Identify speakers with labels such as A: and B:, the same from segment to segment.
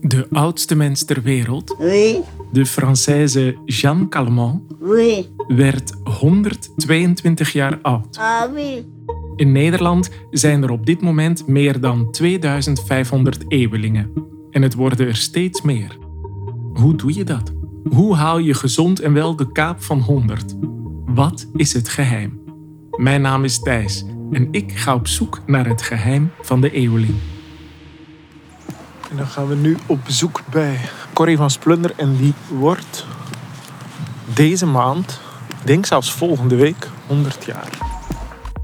A: de oudste mens ter wereld,
B: Oui,
A: de Française Jeanne Calment,
B: oui.
A: werd 122 jaar oud.
B: Ah oui.
A: In Nederland zijn er op dit moment meer dan 2500 eeuwelingen. En het worden er steeds meer. Hoe doe je dat? Hoe haal je gezond en wel de kaap van 100? Wat is het geheim? Mijn naam is Thijs en ik ga op zoek naar het geheim van de eeuweling.
C: En dan gaan we nu op bezoek bij Corrie van Splunder. En die wordt deze maand, ik denk zelfs volgende week, 100 jaar.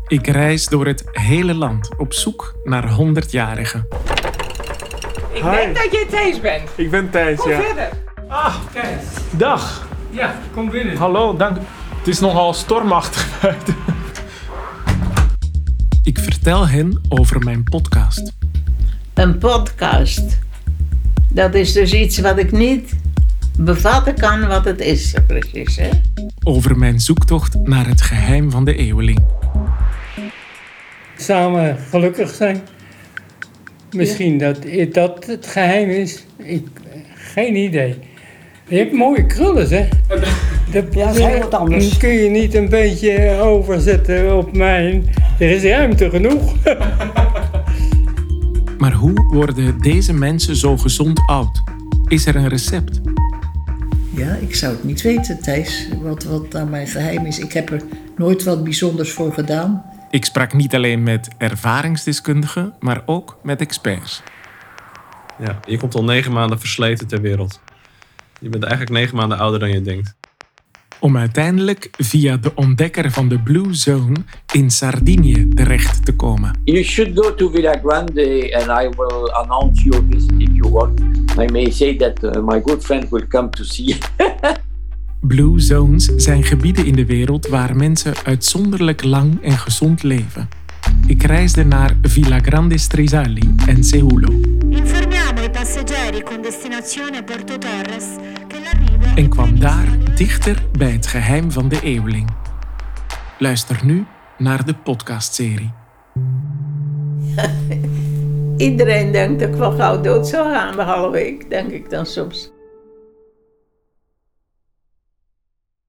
A: Ik reis door het hele land op zoek naar 100-jarigen.
D: Ik
C: Hi.
D: denk dat jij Thijs bent.
C: Ik ben Thijs,
D: Kom verder.
E: Kijk,
C: Oh, Dag,
E: ja, kom binnen.
C: hallo, dank. Het is nogal stormachtig buiten.
A: Ik vertel hen over mijn podcast.
F: een podcast. Dat is dus iets wat ik niet bevatten kan wat het is, precies. Hè?
A: Over mijn zoektocht naar het geheim van de eeuweling.
E: Samen gelukkig zijn. Misschien dat dat het geheim is. Ik, geen idee. Je hebt mooie krullen, zeg. Dat
B: Ja, dat is heel wat anders.
E: Kun je niet een beetje overzetten op mijn... Er is ruimte genoeg.
A: Maar hoe worden deze mensen zo gezond oud? Is er een recept?
G: Ja, ik zou het niet weten, Thijs, wat, wat nou mijn geheim is. Ik heb er nooit wat bijzonders voor gedaan.
A: Ik sprak niet alleen met ervaringsdeskundigen, maar ook met experts.
H: Ja, je komt al negen maanden versleten ter wereld. Je bent eigenlijk negen maanden ouder dan je denkt.
A: Om uiteindelijk via de ontdekker van de Blue Zone in Sardinië terecht te komen.
I: You should go to Villa Grande and I will announce your visit if you want. I may say that uh, my good friend will come to see you.
A: Blue Zones zijn gebieden in de wereld waar mensen uitzonderlijk lang en gezond leven. Ik reisde naar Villa Grande Strisali en Seulo
J: Informiamo i passeggeri con destinazione Porto Torres che l'arrivo
A: en kwam daar dichter bij het geheim van de eeuweling. Luister nu naar de podcastserie.
F: Iedereen denkt dat ik wel gauw dood zou gaan, behalve ik, denk ik dan soms.